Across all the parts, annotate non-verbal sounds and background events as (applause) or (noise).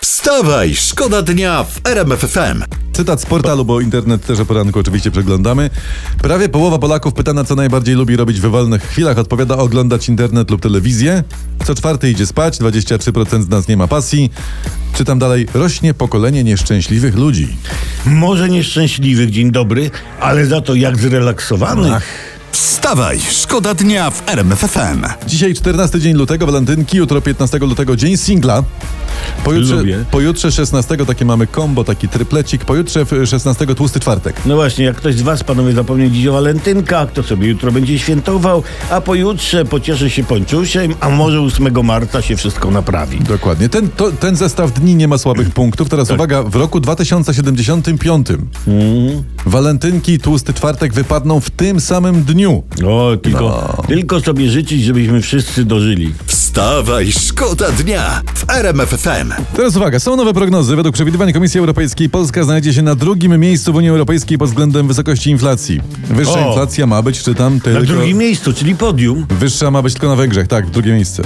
Wstawaj, szkoda dnia w RMFFM. Cytat z portalu, bo internet też o poranku oczywiście przeglądamy. Prawie połowa Polaków pytana, co najbardziej lubi robić w wolnych chwilach, odpowiada oglądać internet lub telewizję. Co czwarty idzie spać, 23% z nas nie ma pasji. Czytam dalej, rośnie pokolenie nieszczęśliwych ludzi. Może nieszczęśliwych, dzień dobry, ale za to jak zrelaksowany. Wstawaj, szkoda dnia w RMFFM. Dzisiaj 14 dzień lutego, walentynki, jutro 15 lutego dzień singla. Pojutrze, Lubię. pojutrze 16 takie mamy combo, taki tryplecik. Pojutrze w- 16 tłusty czwartek. No właśnie, jak ktoś z was, panowie, zapomniał dziś o walentynkach, to sobie jutro będzie świętował, a pojutrze pocieszy się pończusiem, a może 8 marca się wszystko naprawi. Dokładnie. Ten, to, ten zestaw dni nie ma (clears throat) słabych punktów. Teraz Tak. uwaga, w roku 2075 Mhm. walentynki i tłusty czwartek wypadną w tym samym dniu. O, tylko, No. tylko sobie życzyć, żebyśmy wszyscy dożyli. Wstawaj, szkoda dnia w RMFFM. Teraz uwaga, są nowe prognozy. Według przewidywań Komisji Europejskiej Polska znajdzie się na drugim miejscu w Unii Europejskiej pod względem wysokości inflacji. Wyższa O. inflacja ma być, czytam, Na tylko... drugim miejscu, czyli podium. Wyższa ma być tylko na Węgrzech, tak, w drugie miejsce.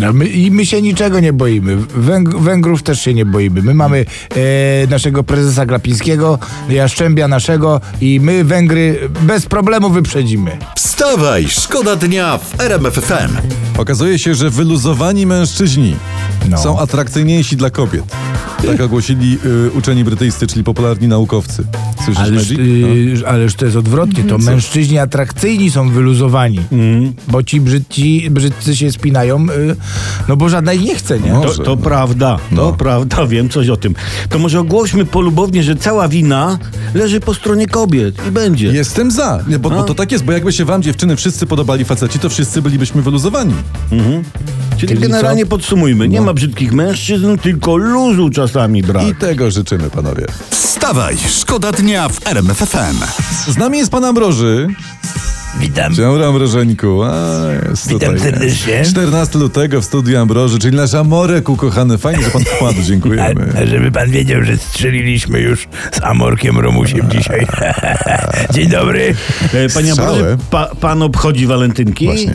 No my, I my się niczego nie boimy. Węg- Węgrów też się nie boimy. My mamy e, naszego prezesa Glapińskiego, Jaszczębia naszego i my Węgry bez problemu wyprzedzimy. Wstawaj, szkoda dnia w RMFFM. Okazuje się, że wyluzowani mężczyźni No. są atrakcyjniejsi dla kobiet. (laughs) Tak ogłosili y, uczeni brytyjscy, czyli popularni naukowcy. Słyszysz, Ależ, Magic? y, ależ to jest odwrotnie. To mężczyźni atrakcyjni są wyluzowani, bo ci brzydci, brzydcy się spinają, y, no bo żadna ich nie chce, nie? No. To, Może, to no. prawda, to No. prawda, wiem coś o tym. To może ogłośmy polubownie, że cała wina leży po stronie kobiet i będzie. Jestem za, nie, bo, bo No. to tak jest, bo jakby się wam dziewczyny wszyscy podobali faceci, to wszyscy bylibyśmy wyluzowani. Czyli, Czyli generalnie co? podsumujmy, nie ma brzydkich mężczyzn, tylko luzu czasami brak. Tak. I tego życzymy, panowie. Wstawaj, szkoda dnia w RMFFM. Z nami jest pan Ambroży. Witam. Dzień dobry, Ambrożeńku. A, jest Witam tutaj. serdecznie. 14 lutego w studiu Ambroży, czyli nasz Amorek ukochany. Fajnie, że pan wpadł, A, (laughs) dziękujemy. a żeby pan wiedział, że strzeliliśmy już z Amorkiem (laughs) Romusiem dzisiaj. Dzień dobry. E, Panie Ambroży, Strzałę. pa, pan obchodzi walentynki? Właśnie.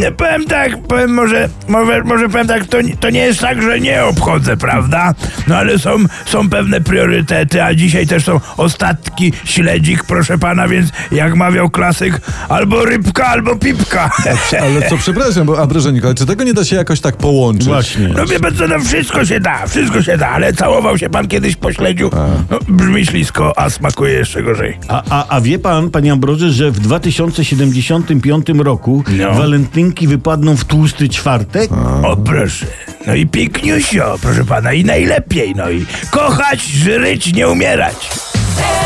Nie, powiem tak, powiem może, może, może powiem tak, to, to nie jest tak, że nie obchodzę, prawda? No ale są, są pewne priorytety, a dzisiaj też są ostatki, śledzik, proszę pana, więc jak mawiał klasyk, albo rybka, albo pipka. Ale co, przepraszam, bo Ambrożeńku, ale czy tego nie da się jakoś tak połączyć? Właśnie. No wie pan co, no wszystko się da, wszystko się da, ale całował się pan kiedyś po śledziu. No, brzmi ślisko, a smakuje jeszcze gorzej. A, a, a wie pan, panie Ambroży, że w 2075 roku No. walentynki wypadną w tłusty czwartek? O proszę, no i piękniusio, proszę pana, i najlepiej, no i kochać, żyć, nie umierać. Hey!